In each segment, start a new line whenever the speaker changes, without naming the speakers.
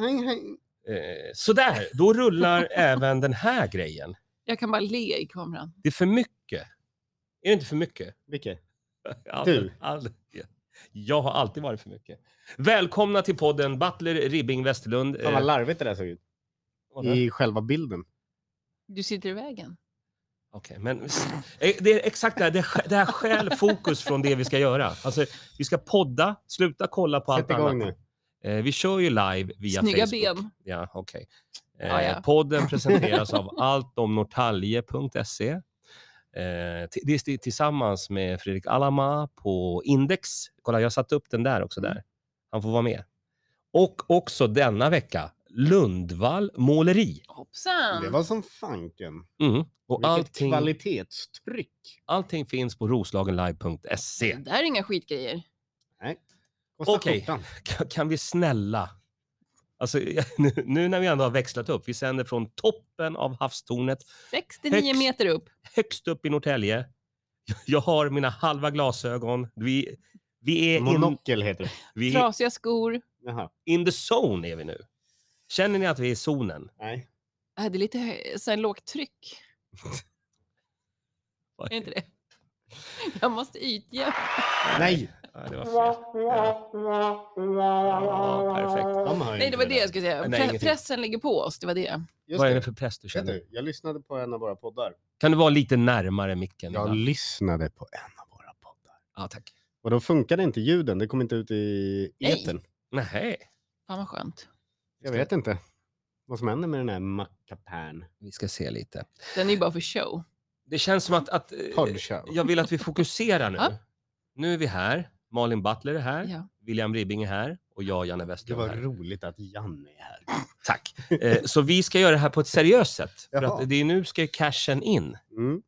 Hej, hej.
Eh, sådär, då rullar även den här grejen.
Jag kan bara le i kameran.
Det är för mycket. Är det inte för mycket?
Vilket?
Aldrig-
Du.
aldrig. Jag har alltid varit för mycket. Välkomna till podden Butler Ribbing Westerlund. Eh,
Fan vad larvigt det där såg ut. I själva bilden.
Du sitter i vägen.
Okej, men s- eh, det är exakt det här. Det, sk- det här stjäl fokus från det vi ska göra. Alltså, vi ska podda, sluta kolla på
Sätt
allt
igång
annat. Eh, vi kör ju live via
Snygga
Facebook.
ben.
Ja, okej.
Ja,
eh,
ja.
Podden presenteras av alltomnortalje.se. Eh, t- Eh, det är sti- tillsammans med Fredrik Alama på Index. Kolla, jag satte upp den där också.
Mm.
där. Han får vara med. Och också denna vecka, Lundvall måleri.
Det
Hoppsan!
var som fanken.
Mm. Och
Vilket
allting,
kvalitetstryck.
allting finns på roslagenlive.se.
Det där är inga skitgrejer.
Kostar
Okej.
skjortan.
Kan, kan vi snälla... Alltså, nu, nu när vi ändå har växlat upp. Vi sänder från toppen av havstornet
69
Högst.
meter upp.
högst upp i Norrtälje. Jag har mina halva glasögon. Vi, vi är in,
Monokel heter det.
vi är
Trasiga skor.
Jaha.
in the zone är vi nu. Känner ni att vi är i zonen?
Nej.
Äh, Det är lite hö- så här lågt tryck. Är det inte det? Jag måste ytjämna.
Nej.
Ja, det var fel. Ja. Ja, perfekt.
De har ju
Nej, det var
inte
det jag skulle säga.
Nej,
Pre-
ingenting.
pressen ligger på oss. Det var det.
Just
Vad är det för press du
Vet
känner?
du, jag lyssnade på en av våra poddar.
Kan du vara lite närmare micken?
Jag
ibland?
lyssnade på en av våra poddar.
Ja, tack.
Och då funkade inte ljuden. Det kom inte ut i
Nej.
etern.
Nej,
Fan vad skönt.
Jag vet inte vad som händer med den här mackapärn.
vi ska se lite.
Den är ju bara för show.
Det känns som att, att eh,
Poddshow.
jag vill att vi fokuserar nu.
Ja.
Nu är vi här. Malin Butler är här.
Ja.
William Ribbing är här. Och jag, Janne
Det
Westlund, är
var
här.
roligt att Janne är här.
Tack. Eh, så vi ska göra det här på ett seriöst sätt. För
Jaha.
att det är nu ska ju cashen in.
Mm.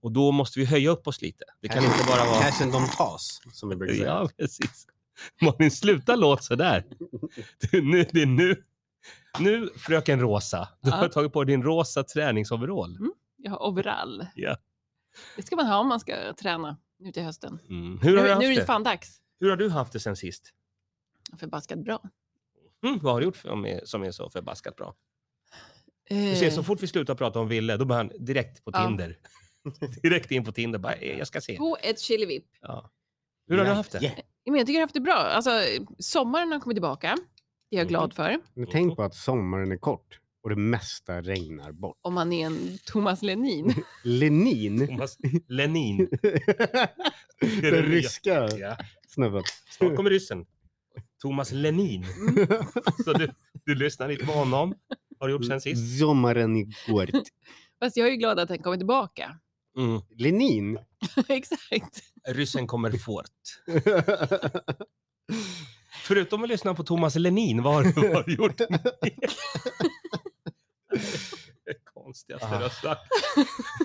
Och då måste vi höja upp oss lite. Det kan inte bara vara...
Cashen de tas, som vi brukar säga.
Ja, precis. Malin, sluta låt sådär. Det är nu, det är nu. nu fröken Rosa, du har
Ja.
tagit på dig din rosa träningsoverall.
Jag har overall.
Ja.
Det ska man ha om man ska träna nu till hösten.
Mm.
Nu,
Hur, har du
nu är det
haft det?
fan dags.
Hur har du haft det sen sist?
Förbaskat bra.
Mm, vad har du gjort som är, som är så förbaskat bra? Du ser, så fort vi slutar prata om Ville, då börjar han direkt på
Eh. Ja. Oh.
Tinder. direkt in på Tinder. Bara, eh, jag ska se.
På ett chili whip.
Ja. Hur har du
Ja,
haft det?
ja.
Men jag tycker jag har haft det bra. Alltså, sommaren har kommit tillbaka. Det är jag glad för.
Men tänk på att sommaren är kort och det mesta regnar bort.
Om man är en Thomas Lenin.
Lenin,
Thomas Lenin.
den ryska
Ja.
snubben.
Snart kommer ryssen. Thomas Lenin. Så du, du lyssnar lite på honom. Har du gjort sen sist?
Sommaren i kort.
Fast jag är ju glad att den kommer tillbaka.
Mm.
Lenin.
Exakt.
Ryssen kommer fort. Förutom att lyssna på Thomas Lenin, vad har du, vad har du gjort? Det konstigaste du har sagt.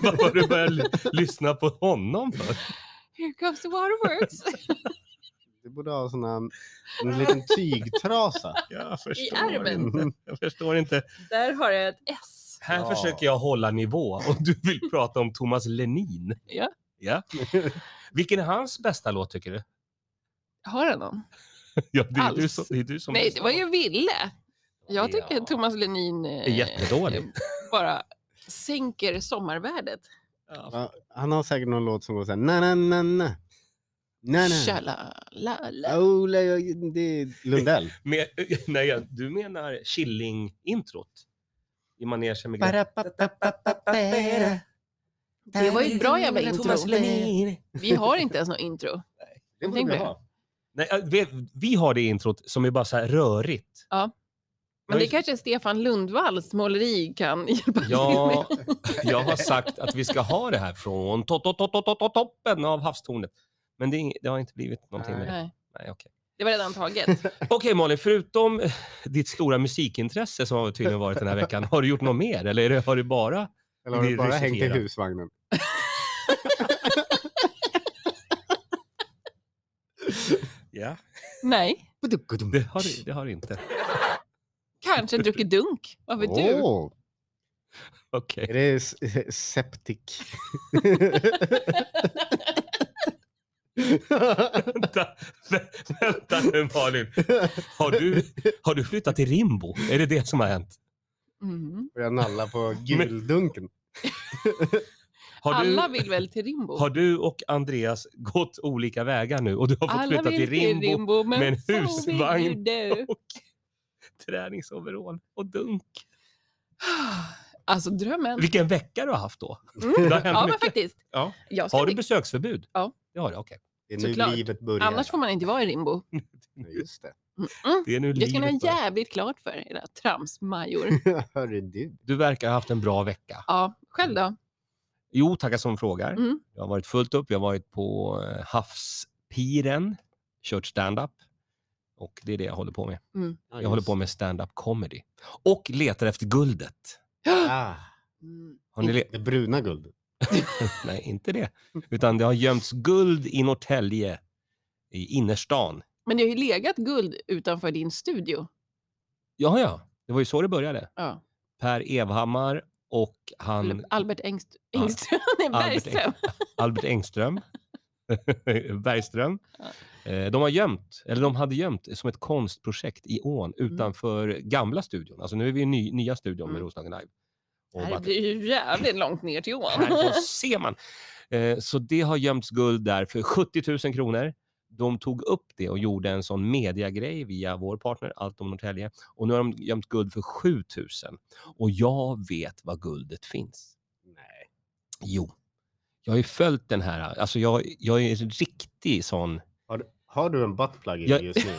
Varför har du börjat l- lyssna på honom för?
Here comes the waterworks.
Du borde ha sån här, en liten tygtrasa.
Jag
armen.
inte. Jag förstår inte.
Där har jag ett S.
Här
Ja.
försöker jag hålla nivå och du vill prata om Thomas Lenin.
Ja.
ja. Vilken är hans bästa låt tycker du?
Har jag någon?
Ja, det, är
Alls.
du som, det är du som...
Nej, det var jag ville. Jag tycker
Ja.
att Thomas Lenin
Det är
eh,
jättedålig.
bara sänker sommarvärdet.
Ja.
Ja, Han har säkert någon låt som går så här. Na, na, na, na. Na, na.
Tjala, la, la.
Oh, la, ja, det är Lundell.
Men, nej, ja, du menar Killing-introt? I manegen med grejer.
Det var ju ett bra jävla intro.
Thomas Lenin.
Vi har inte ens något intro.
Det borde
Tänk
vi
på
ha.
Nej, ja, vi, vi har det introt som är bara så här rörigt.
Ja. Men det kanske Stefan Lundvalls måleri kan hjälpa till
Ja, jag har sagt att vi ska ha det här från to, to, to, to, to, to, toppen av havstornet. Men det, är ing- det har inte blivit någonting med
med.
det.
Nej,
Nej, okej.
det var redan taget.
Okej Malin, förutom eh, ditt stora musikintresse som har tydligen varit den här veckan, har du gjort något mer eller är det, har du bara...
Eller har du
Vi
bara hängt i
russifierar.
husvagnen?
Ja.
Nej,
Det har du det har du inte.
kanske druckit dunk. Vad vet du?
Åh,
Okej.
Är det s- septic?
Vänta, vä- vänta nu Malin. Har du, har du flyttat till Rimbo? Är det det som har hänt?
Mm.
Och jag nallar på guldunken.
Har du,
Alla vill väl till Rimbo?
har du och Andreas gått olika vägar nu och du har fått
Alla
flytta
vill
till Rimbo,
men
med en
så vill
husvagn.
ju du.
och träningsoverall och dunk.
Alltså drömmen.
Vilken vecka du har haft då.
Mm.
Det har hänt
Ja, men
mycket.
faktiskt.
Ja.
Jag ska
Har du
dit.
besöksförbud?
Ja.
Det har du, okej.
Det är nu
Såklart.
livet börjar.
Annars får man inte vara i Rimbo.
Ja, Just det.
Mm.
Det är nu
Det ska ni ha
livet börjar.
jävligt klart för, era tramsmajor.
Hörru du.
Du verkar ha haft en bra vecka.
Ja, själv då?
Jo, tackar som frågar.
Mm.
Jag har varit fullt upp. Jag har varit på eh, havspiren, kört stand-up. Och det är det jag håller på med. Jag håller på med stand-up comedy. Och letar efter guldet.
Ah,
Mm.
Har ni le-
det bruna guldet.
Nej, inte det.
Mm.
Utan det har gömts guld i Norrtälje, i innerstan.
Men det har ju legat guld utanför din studio.
Ja, ja. Det var ju så det började.
Ja.
Per Evhammar och han
Eller Albert Engst-
Ja.
Engström. Nej,
Albert
Bergström.
Albert Engström. Bergström. Eh, De har gömt, eller de hade gömt som ett konstprojekt i ån utanför gamla studion. Alltså nu är vi i ny, nya studion med
Mm.
Roslagen Live. Och
Det här
vatten-
blir ju jävligt långt ner till ån.
Härifrån ser man. Eh, Så det har gömts guld där för 70 000 kronor. De tog upp det och gjorde en sån mediagrej via vår partner Allt om Norrtälje. Och nu har de gömt guld för 7 000. Och jag vet var guldet finns.
Nej.
Jo. Jag har ju följt den här, alltså jag, jag är en riktig sån,
Har, du- har du en buttplug i
Jag-
dig just nu?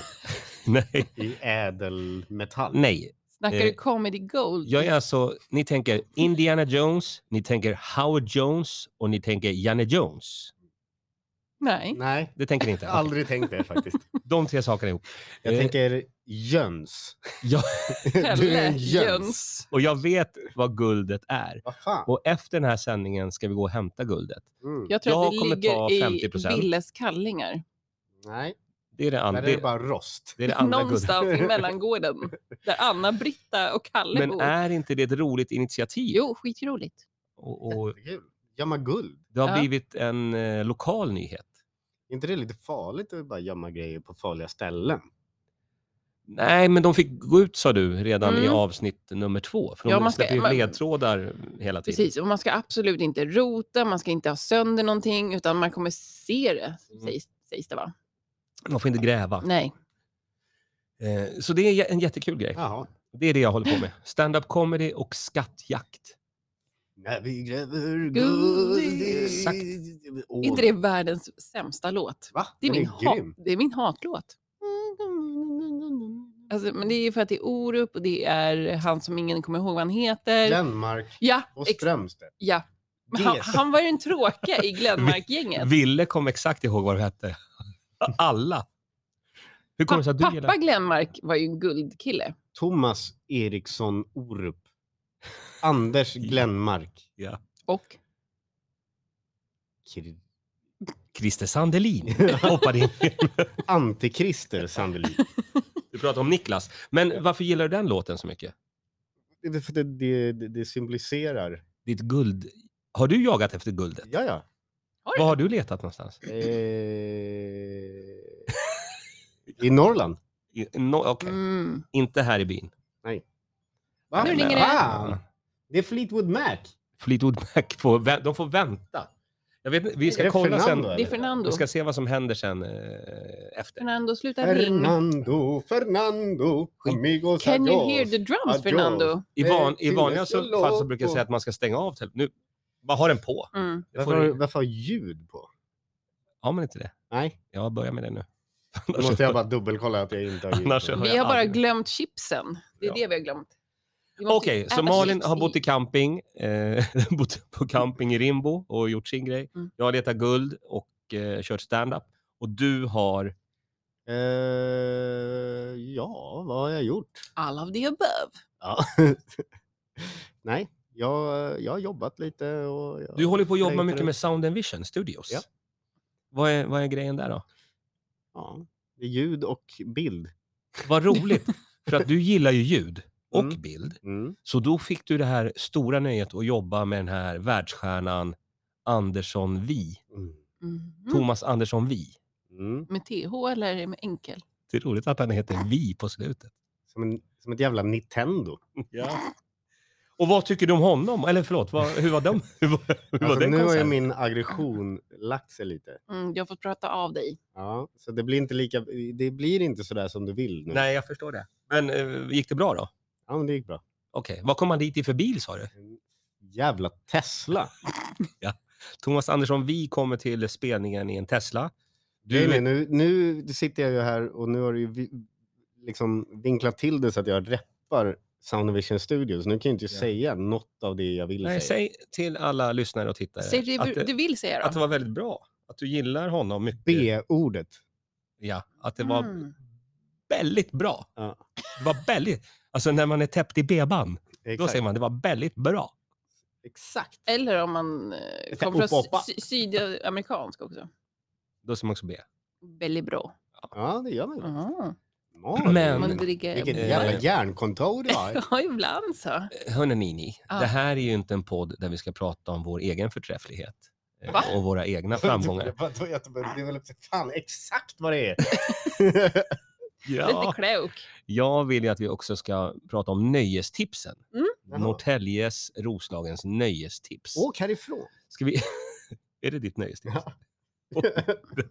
nej,
I ädelmetall?
nej.
Snackar
Eh,
du comedy gold?
Jag är alltså, ni tänker Indiana Jones, ni tänker Howard Jones och ni tänker Janne Jones.
Nej.
Nej.
Det tänker ni inte? Okej.
Aldrig tänkt det faktiskt.
De tre sakerna ihop.
Jag
Eh,
tänker jöns.
Ja.
du är
Pelle
en jöns.
Jöns.
Och jag vet vad guldet är.
Vad fan?
Och efter den här sändningen ska vi gå och hämta guldet.
Mm.
Jag tror
Jag
att det
kommer ta
ligger
50%.
i Billes kallingar.
Nej,
Det är det,
där
andra.
är det
det,
bara rost.
det, är det andra guldet.
Någonstans i mellangården. Där Anna-Britta och Kalle
Men
bor.
är inte det ett roligt initiativ?
Jo, skitroligt.
Och, och
Jättekul. Gömma guld.
det har
Ja.
blivit en eh, lokal nyhet.
Är inte det lite farligt att bara gömma grejer på farliga ställen?
Nej, men de fick gå ut sa du redan i
Mm.
avsnitt nummer två. För de
Ja, man ska-
släpper ju
man-
ledtrådar hela tiden.
Precis, och man ska absolut inte rota, man ska inte ha sönder någonting, utan man kommer se det,
Mm.
sägs, sägs det va?
Man får inte gräva.
Nej.
Eh, Så det är en jättekul grej.
Jaha.
Det är det jag håller på med. Stand-up comedy och skattjakt.
När vi gräver
Guld
guld
i-
i...
Exakt.
Åh,
Är inte det världens sämsta låt?
Va?
Det är,
Den
min,
är
hat,
grym.
det är min hatlåt. Alltså, men det är ju för att det är Orup och det är han som ingen kommer ihåg vad han heter.
Glenmark
Ja,
och
eh, ex-
Strömstedt.
ja. Men Han,
Ges.
han var ju den tråkiga i Glenmark-gänget.
Ville kom exakt ihåg vad du hette. Alla. Hur kommer det sig att du
Pappa
gillar...
Glenmark var ju en guldkille.
Thomas Eriksson Orup. Anders Glenmark.
Ja.
Och
Kri-
Christer Sandelin hoppade in.
Antikrister Sandelin.
Du pratar om Niklas. Men varför gillar du den låten så mycket?
Det, är för det, det, det det symboliserar.
Ditt guld... Har du jagat efter guldet?
Ja, ja.
Har du?
Var har du letat någonstans?
Eh... I Norrland.
I- No, okej.
mm,
Inte här i byn. Ah.
Va?
Nu ringer det.
Fan! Det är Fleetwood Mac.
Fleetwood Mac får, vä- de får vänta. Jag vet, inte, vi
Är
ska
det
kolla
Fernando,
sen.
det är Fernando.
Vi ska se vad som händer sen eh, efter.
Fernando, sluta ring.
Fernando, Fernando, amigos
Can you hear
adios.
the drums,
Adios.
Fernando?
I, van, i
Eh,
vanliga
Silvester
så, fall så
Loco.
brukar jag säga att man ska stänga av telefonen. Nu, bara ha den på.
Mm.
Det
Varför,
får,
har-
du-
varför har ljud på?
har man inte det?
Nej,
Jag börjar med det nu.
då måste jag bara dubbelkolla att jag inte har ljud
Annars-
på.
har
Vi
jag
har bara
aldrig-
glömt chipsen. Det är
Ja.
det vi har glömt. Vi måste
Okej,
äta
så Malin
chips
har
i.
bott i camping, eh, bott på camping i Rimbo och gjort sin grej.
Mm.
Jag har letat guld och eh, kört stand-up. Och du har...
Eh, ja, vad har jag gjort?
All of the above.
Ja. Nej, jag, jag har jobbat lite. Och jag
Du håller på att jobba
flöjtar
mycket
ut.
med Sound and Vision Studios.
Ja.
Vad, är, vad är grejen där då?
Ja, det är ljud och bild.
Vad roligt, för att du gillar ju ljud och
Mm.
bild.
Mm.
Så då fick du det här stora nöjet att jobba med den här världsstjärnan Andersson Vi.
Mm.
Mhm.
Thomas Andersson Vi.
Mm.
Med TH eller med enkel?
Det är roligt att han heter Vi på slutet.
Som, en, som ett jävla Nintendo.
Ja. Och vad tycker du om honom? Eller förlåt, vad, hur var de? Hur var, hur var
Alltså,
den
nu har ju
konserten?
min aggression lagt sig lite.
Mm, jag får prata av dig.
Ja, så det blir inte lika, det blir inte sådär som du vill nu.
Nej, jag förstår det. Men eh, gick det bra då?
Ja, men det gick bra.
Okej, vad kom han dit i för bil sa du?
En jävla Tesla.
Thomas Andersson, vi kommer till spelningen i en Tesla.
Nej,
Du,
nej, nu, nu sitter jag ju här och nu har du ju vi- liksom vinklat till det så att jag reppar Soundvision Studios. Nu kan jag inte
Ja.
säga något av det jag vill
nej,
säga.
säg till alla lyssnare och tittare
Säg det
att,
du,
det,
du vill säga
att det
då.
var väldigt bra. Att du gillar honom mycket.
B-ordet.
Ja, att det var
Mm.
väldigt bra.
Ja.
Det var väldigt... Alltså när man är täppt i beban, då
Exakt.
säger man det var väldigt bra.
Exakt.
Eller om man eh,
Lite
kommer från
oppa, oppa.
sy- sydamerikansk också.
Då säger man också be.
Väldigt bra.
Ja, det gör man ju.
Ah.
Malin,
Men-
Man dricker...
Vilket
Eh,
jävla järnkontor du har.
Ja, ibland så.
Hörni, ni,
Ja.
det här är ju inte en podd där vi ska prata om vår egen förträfflighet eh,
Va?
och våra egna framgångar.
Vadå, Göteborg? Det är väl fan exakt vad det är.
Lite klok.
Jag vill ju att vi också ska prata om nöjestipsen.
Mm.
Jaha.
Norrtäljes, Roslagens nöjestips.
Åk härifrån.
Ska vi... är det ditt nöjestips?
Ja.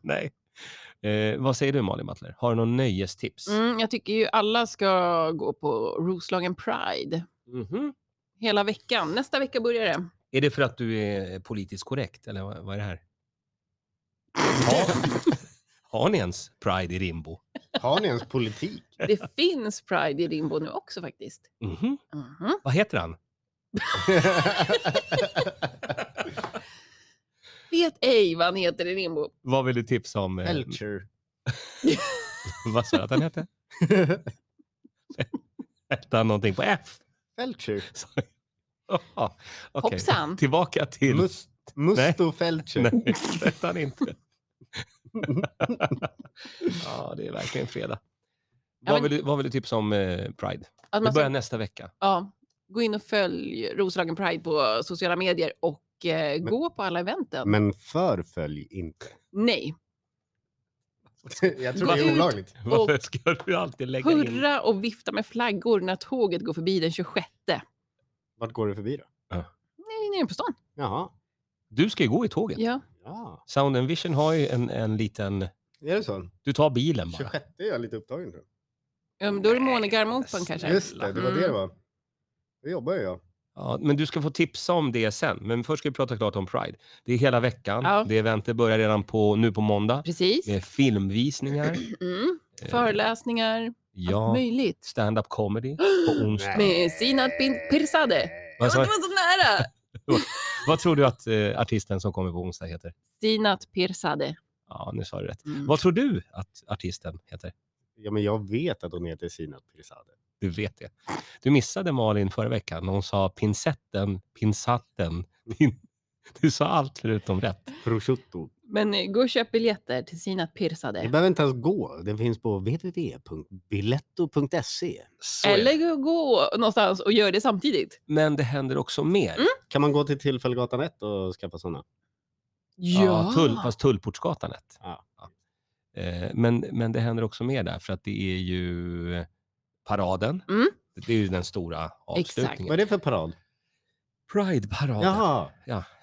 Nej. Eh, vad säger du Malin Mattler? Har du någon nöjestips?
Mm, jag tycker ju alla ska gå på Roslagen Pride
Mhm.
hela veckan. Nästa vecka börjar det.
Är det för att du är politiskt korrekt eller vad, vad är det här? Har, har ni ens Pride i Rimbo?
Har ni ens politik?
Det finns Pride i Rimbo nu också faktiskt.
Mhm.
Mhm.
Vad heter han?
Vet ej vad han heter i Rimbo.
Vad vill du tipsa om? eh,
Culture.
Vad sa du att han hette? Hette han någonting på F?
Felcher.
Jaha, okej.
Hoppsan.
Tillbaka till...
Must, Musto Felcher.
Nej, det hette han inte. ja, det är verkligen fredag.
Ja,
Vad
men- alltså-
vill, du, vad vill du tipsa om eh, Pride?
Att
Det
man
börjar
ska,
nästa vecka.
ja, gå in och följ Roslagen Pride på sociala medier och eh,
Men-
gå på alla
Mm.
eventen.
Men förfölj inte.
Nej,
Jag tror
Varför-
det är olagligt.
Varför ska du alltid lägga in...
hurra och vifta med flaggor när tåget går förbi den 26.
Vart går du förbi då?
Nej, nere på stan.
Jaha.
Du ska ju gå i tåget.
Ja.
Ja.
Sound and Vision har ju en, en liten...
Är det så?
Du tar bilen bara.
26 är jag lite upptagen tror
Ja, men Då är det Monica
Nej, alltså,
Armopan kanske.
Just det, det var det det var. Då jobbar ju jag.
Ja, men du ska få tipsa om det sen. Men först ska vi prata klart om Pride. Det är hela veckan.
Ja.
Det eventet börjar redan på, nu på måndag.
Precis.
Med eh, filmvisningar. eh,
Mm. Föreläsningar, allt
Ja,
möjligt.
stand-up comedy på onsdag.
Med Sinat Bin Pirzadeh.
Vad,
Ja,
sa,
det var så nära!
vad tror du att eh, artisten som kommer på onsdag heter?
Sinat Pirzadeh.
Ja, nu sa du rätt.
Mm.
Vad tror du att artisten heter?
Ja, men jag vet att hon heter Sinat Pirzadeh.
Du vet det. Du missade Malin förra veckan när hon sa pinsetten, pinsatten, pin... Du sa allt förutom rätt.
Prosciutto.
Men eh, gå och köp biljetter till Sinat
Det
Pirzadeh.
behöver inte ens gå. Den finns på www.biletto.se.
Så är det.
Eller gå- gå någonstans och gör det samtidigt.
Men det händer också mer.
Kan man gå till Tillfällegatan 1 och skaffa sådana?
Ja, tull, fast Tullportsgatan 1.
Ja.
Eh, Men, men det händer också mer där, för att det är ju eh, paraden.
Mm.
Det är ju den stora
Exakt.
Vad är
avslutningen.
det för parad?
Pride-paraden.
Jaha.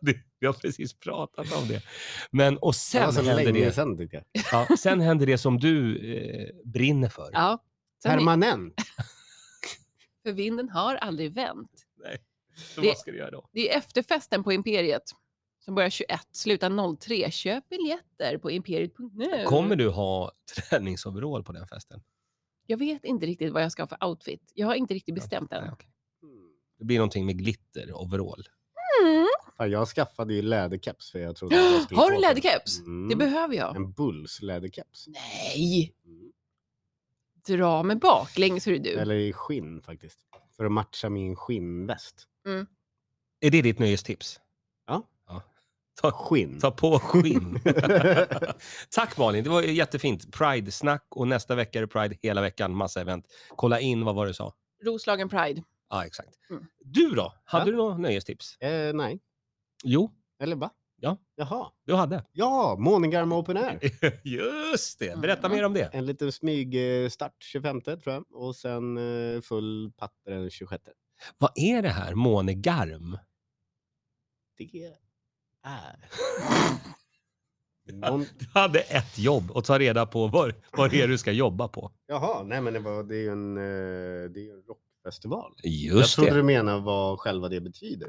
Det- Vi har precis pratat om det. Men, och sen
det var så
händer
länge
det,
sedan tycker jag.
ja, sen händer det som du eh, brinner för.
Ja. Sen är-
Permanent.
För vinden har aldrig vänt.
Så
det-
vad ska du göra då?
Det är efterfesten på Imperiet som börjar 21, slutar 03. Köp biljetter på imperiet.nu.
Kommer du ha träningsoverall på den festen?
Jag vet inte riktigt vad jag ska ha för outfit. Jag har inte riktigt bestämt
Nej,
än.
okej. Det blir någonting med glitter-overall.
Mm.
Fan, jag skaffade ju läderkeps för jag trodde att jag skulle
Har du
få det.
läderkeps?
Mm.
Det behöver jag.
En Bulls läderkeps.
Nej,
Mm.
dra mig baklänges hör du.
Eller i skinn faktiskt. För att matcha min skinnväst.
Är det ditt nöjestips?
Ja.
Ta,
Skinn.
ta på skinn. Tack Malin, det var jättefint. Pride-snack och nästa vecka är det Pride hela veckan, massa event. Kolla in, vad var det du sa?
Roslagen Pride.
Ja, exakt.
Mm.
Du då? Hade
Ja.
du något nöjestips?
eh, nej.
Jo,
Eller va?
Ja.
Jaha.
Du hade. Mm.
Ja, Månegarma Open Air.
Just det. Berätta mer om det.
En liten smygstart 25 tror jag och sen eh, full patter den 26.
Vad är det här månegarm?
Det är... Någon...
Du hade ett jobb och ta reda på vad, vad det är du ska jobba på.
Jaha, nej men det, var, det är ju en, eh, det är ju en rockfestival. jag
Just
trodde
det.
du menade vad själva det betyder.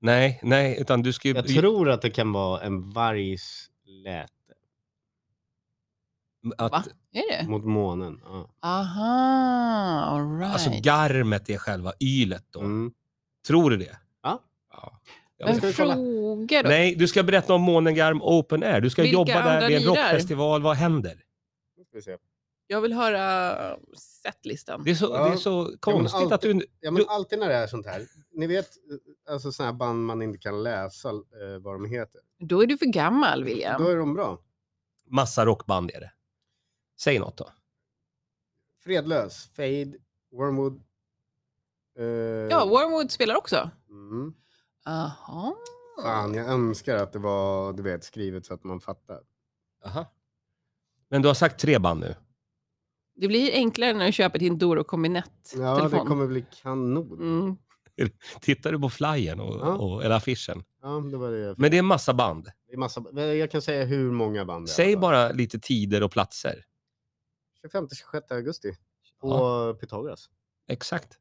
Nej, nej, utan du ska ju...
Jag tror att det kan vara en vargs läte
Va?
att,
Är
Eh.
det?
mot månen. Ja.
Mm. Aha, all right.
alltså garmet är själva ylet då.
Mm.
Tror du det?
Ja.
Ja.
Men
Men
ska vi kolla?
fråga då.
Nej, du ska berätta om Månegarm Open Air. Du ska
Vilka
jobba
andra
där, det är en
lirar?
rockfestival. Vad händer?
Nu ska vi se.
Jag vill höra um, setlistan.
Det är så,
Ja.
det är så
alltid-
konstigt att du...
Ja, men
Du-
alltid när det är sånt här. Ni vet, eh, alltså såna här band man inte kan läsa eh, vad de heter.
Då är du för gammal, William.
Då är de bra.
Massa rockband är det. Säg något då.
Fredlös, Fade, Wormwood. eh,
Ja, Wormwood spelar också.
mm.
Aha.
Fan, jag önskar att det var du vet, skrivet så att man fattar.
Men du har sagt tre band nu.
Det blir enklare när du köper din Doro Combinett-telefon.
Ja, det kommer bli kanon.
mm.
Tittar du på flyern och,
Ja.
och, eller affischen?
Ja, det var det jag fick.
Men det är massa band.
Det är massa, men jag kan säga hur många band det är.
Säg bara lite tider och platser.
25-26 augusti på Pythagoras.
Exakt.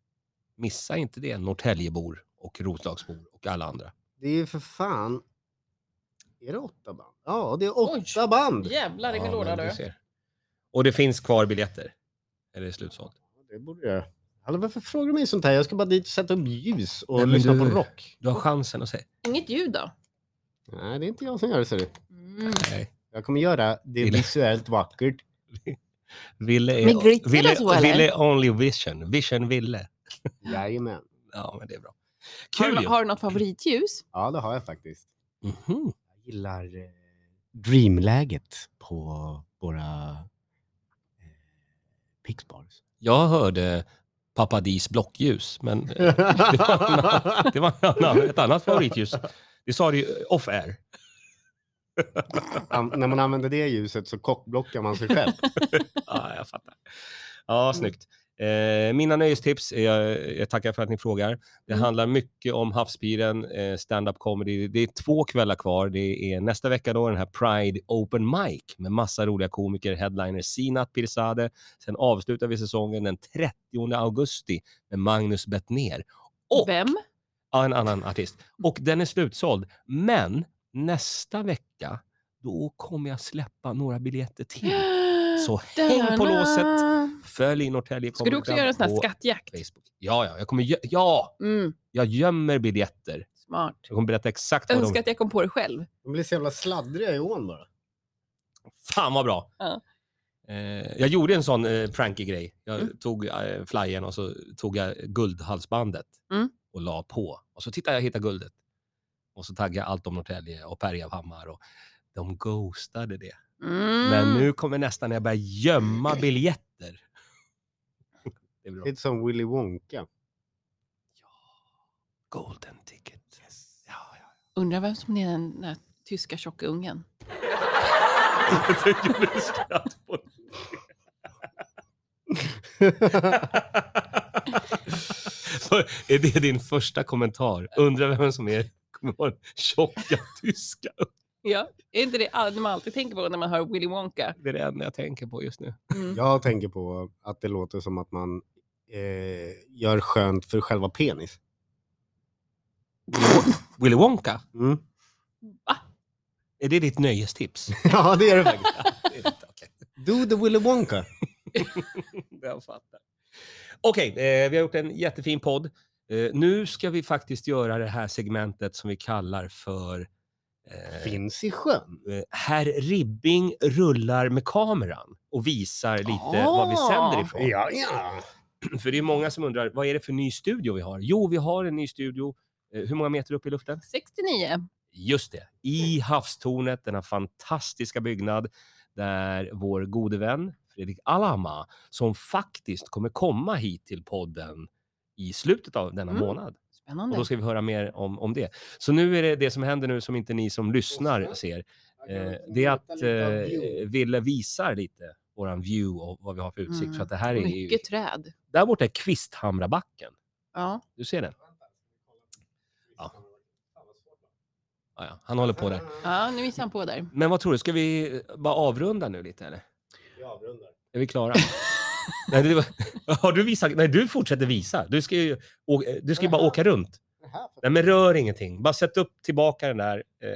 Missa inte det, Norrtäljebor och Roslagsbor och alla andra.
Det är ju för fan... Är det åtta band? Ja, det är åtta
Oj.
band!
Jävlar i min låda
men
du.
ser. Och det finns kvar biljetter. Eller är det slutsålt?
Det borde jag... Alltså, varför frågar du mig sånt här? Jag ska bara dit och sätta upp ljus och
Nej, men
lyssna
du-
på rock.
Du har chansen att säga.
Inget ljud då?
Nej, det är inte jag som gör det, ser du.
Mm.
Nej.
Jag kommer göra det
Vill-
visuellt vackert.
Ville är,
Med glitter
Ville,
och så, eller?
Ville är only vision. Vision Ville.
Jajamän.
Ja, men det är bra.
Har,
Kul
du-
ju.
har du något favoritljus?
Ja, det har jag faktiskt.
Mhm.
Jag gillar eh, dreamläget på våra eh, Pixbars.
Jag hörde Papadis blockljus, men eh, det var, det var en annan, ett annat favoritljus. Det sa du ju off air.
An- när man använder det ljuset så kockblockar man sig själv.
Ja, jag fattar.
Mm.
Ja, snyggt. Eh, mina nöjestips, eh, jag, jag tackar för att ni frågar. Det
Mm.
handlar mycket om Havspiren, eh, stand-up comedy. Det är två kvällar kvar. Det är nästa vecka då den här Pride Open Mic med massa roliga komiker, headliner Sinat Pirzadeh. Sen avslutar vi säsongen den 30 augusti med Magnus Bettner. Och
Vem?
Ja, en annan artist. Och den är slutsåld. Men nästa vecka, då kommer jag släppa några biljetter till. Så häng på låset. Följ Norrtälje
Ska du också
Comedy
göra en
Club
sån här
på
skattjakt?
Facebook. Ja, ja, jag kommer gö- ja,
Mm,
jag gömmer biljetter.
smart.
Jag kommer berätta exakt vad
Önskar
de...
att jag kom på det själv.
De blir så jävla sladdriga i ån bara.
Fan vad bra!
Ja.
Eh, jag gjorde en sån eh, prankig grej. Jag
Mm.
tog eh, flyern och så tog jag guldhalsbandet
Mm.
och la på. Och så tittade jag, hittade guldet. Och så taggade jag allt om Norrtälje och Berghammar och de ghostade det.
Mm.
Men nu kommer nästan när jag börjar gömma biljetter. Det är bra.
Lite som Willy Wonka.
Golden ticket. Ja, ja.
Undrar vem som är den där tyska tjocka ungen.
Jag tycker du skratt på För, är det din första kommentar? Undrar vem som är kommer vara den tjocka tyska.
Ja, är inte det all- det man alltid tänker på när man hör Willy Wonka?
Det är det enda jag tänker på just nu.
Mm.
Jag tänker på att det låter som att man eh, gör skönt för själva penis.
Willy Wonka,
Mm.
är det ditt nöjestips?
Ja, det är det faktiskt.
Det är inte okej.
Do the Willy Wonka.
Jag fattar. Okej, eh, vi har gjort en jättefin podd. Eh, nu ska vi faktiskt göra det här segmentet som vi kallar för eh,
Finns i sjön.
eh, Herr Ribbing rullar med kameran och visar lite vad vi sänder ifrån.
Ja, ja.
För det är många som undrar, vad är det för ny studio vi har? Jo, vi har en ny studio. Eh, hur många meter upp i luften?
69.
Just det, i havstornet, denna fantastiska byggnad där vår gode vän Fredrik Alama, som faktiskt kommer komma hit till podden i slutet av denna
Mm.
månad,
Spännande.
Och då ska vi höra mer om, om det. Så nu är det det som händer nu som inte ni som lyssnar ser. Eh, det är att eh, Ville visar lite våran view och vad vi har för utsikt.
Mm.
För att det här är ju...
Mycket träd.
Där borta är Kvisthamrabacken.
Ja.
Du ser den? Ah, ja. Han håller på där.
ja, nu visar han på där.
Men vad tror du, ska vi eh, bara avrunda nu lite eller?
Vi avrundar.
Är vi klara? Nej, det var... Har du visat? Nej, du fortsätter visa. Du ska ju, å- eh, du ska ju bara åka runt.
Det här för-
Nej, men rör ingenting. Bara sätt upp tillbaka den där. Eh,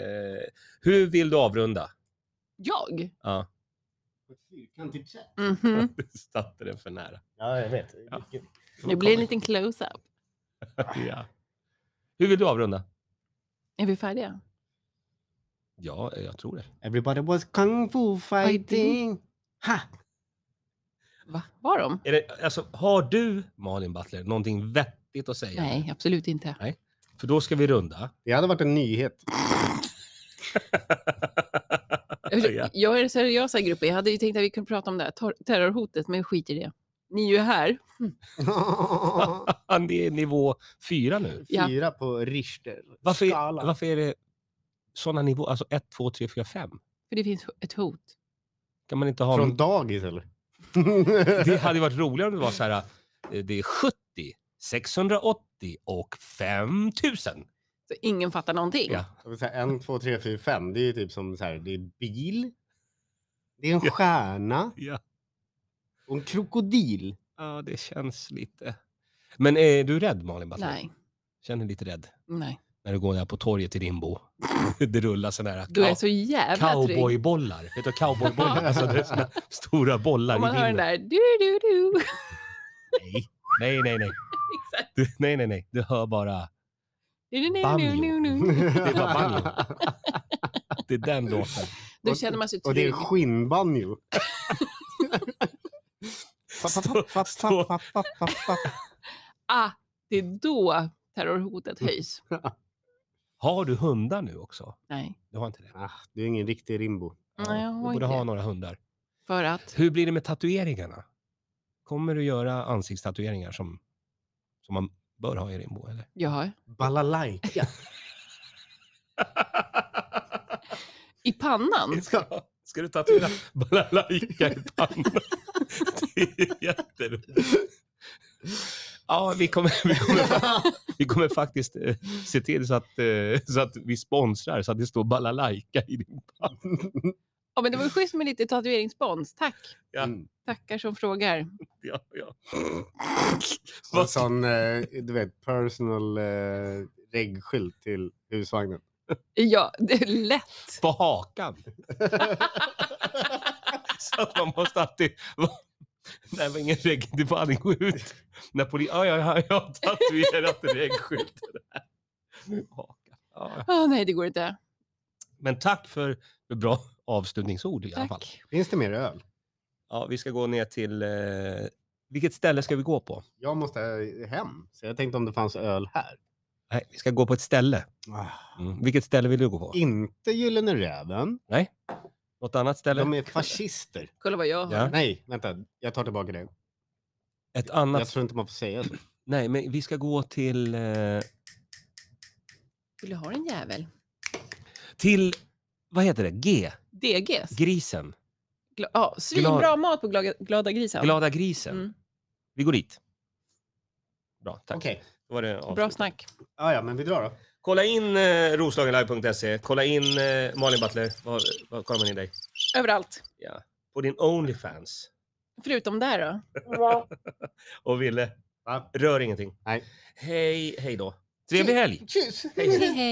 hur vill du avrunda?
Jag?
Ja,
på ett fyrkantigt sätt.
Mhm.
du satte den för nära.
Ja, jag vet.
Ja.
Det blir en liten close-up.
ja. Hur vill du avrunda?
Är vi färdiga?
Ja, eh, jag tror det.
Everybody was kung fu fighting. Ha!
Va? Var de?
Är det alltså, har du, Malin Butler, någonting vettigt att säga?
Nej, absolut inte.
För då ska vi runda.
Det hade varit en nyhet.
ja.
Jag är den seriösa i gruppen. Jag hade ju tänkt att vi kunde prata om det här tor- terrorhotet, men skit i det. Ni är ju här.
Det är nivå fyra nu.
Ja.
Fyra på Richter.
Varför,
skala.
är- varför är det sådana nivåer? Alltså 1, 2, 3, 4, 5.
För det finns ett hot.
Kan man inte ha...
Från dagis eller?
Det hade ju varit roligare om det var så här, eh, det är 70, 680 och 5000.
Så ingen fattar någonting.
Ja.
Jag vill säga, en, två, tre, fyra, fem. Det är ju typ som så här, det är bil. Det är en stjärna
Ja.
och en krokodil.
ja, det känns lite... Men är du rädd Malin? Butler?
Nej,
Känner dig lite rädd
nej.
när du går där på torget i Rimbo? Det rullar sådana här
Du är
cow-
så jävla trygg.
cowboybollar. Vet du cowboybollar? Alltså, det är såna stora bollar
Om man
i
hör den
vinden.
där du, du, du.
Nej, nej, nej. Nej.
Exakt.
Du, nej, nej, nej. Du hör bara...
Du, du, du,
Banjo.
du, du, du.
Det var banjo. Det är den låten.
Då
Och-
känner man sig
Och det är
trygg.
skinnbanjo.
Stå- stå-
Ah, det är då terrorhotet
Mm.
höjs.
Har du hundar nu också?
Nej,
Du har inte det?
Ah, Du är ingen riktig Rimbo.
Nej, jag
du
har
borde
inte
ha
det.
några hundar.
för att
Hur blir det med tatueringarna? Kommer du göra ansiktstatueringar som, som man bör ha i Rimbo? Eller?
jag har
Balalaika.
i pannan.
Ska, ska du tatuera balalaika i pannan? Det är jätteroligt. Ja, vi kommer, vi, kommer, vi kommer faktiskt eh, se till så att, eh, så att vi sponsrar så att det står balalaika i din panna.
Ja, men det var ju schysst med lite tatueringsspons. Tack.
Ja.
Mm.
Tackar som frågar.
Ja, ja.
Och en sån, eh, du vet, personal eh, reggskylt till husvagnen.
Ja, det är lätt.
På hakan. Så att man måste alltid... Nej, det var ingen regg. Det får aldrig gå ut. När poli... Ja, ja, ja, jag har tatuerat reggskylten. Haka. Ja.
Ah, nej, det går inte.
Men tack för för bra avslutningsord i alla fall.
Tack.
Finns det mer öl?
Ja, vi ska gå ner till... Eh... Vilket ställe ska vi gå på?
Jag måste eh, hem, så jag tänkte om det fanns öl här.
Nej, vi ska gå på ett ställe.
Ah.
Mm. Vilket ställe vill du gå på?
Inte Gyllene Räven.
Något annat ställe?
De är fascister.
Kolla vad jag har.
Ja.
Nej, vänta. Jag tar tillbaka det.
Ett
Jag
annat...
tror inte man får säga så.
Nej, men vi ska gå till... Eh...
Vill du ha en jävel?
Till... Vad heter det? G?
DGs?
Grisen.
Gla- ja, svinbra mat på Glada, glada grisen.
Glada grisen.
Mm.
Vi går dit. Bra, tack.
Okej.
Då var det
Bra
avslut.
snack.
Ah, ja, men vi drar då.
Kolla in eh, roslagenlive.se. Kolla in eh, Malin Butler. Var, var kommer ni dig?
Överallt.
Ja. På din Onlyfans.
Förutom där då.
Och Ville,
Va?
rör ingenting.
Nej.
Hej, hej då. Trevlig helg!
Tjus!
Hej, hej.
hej.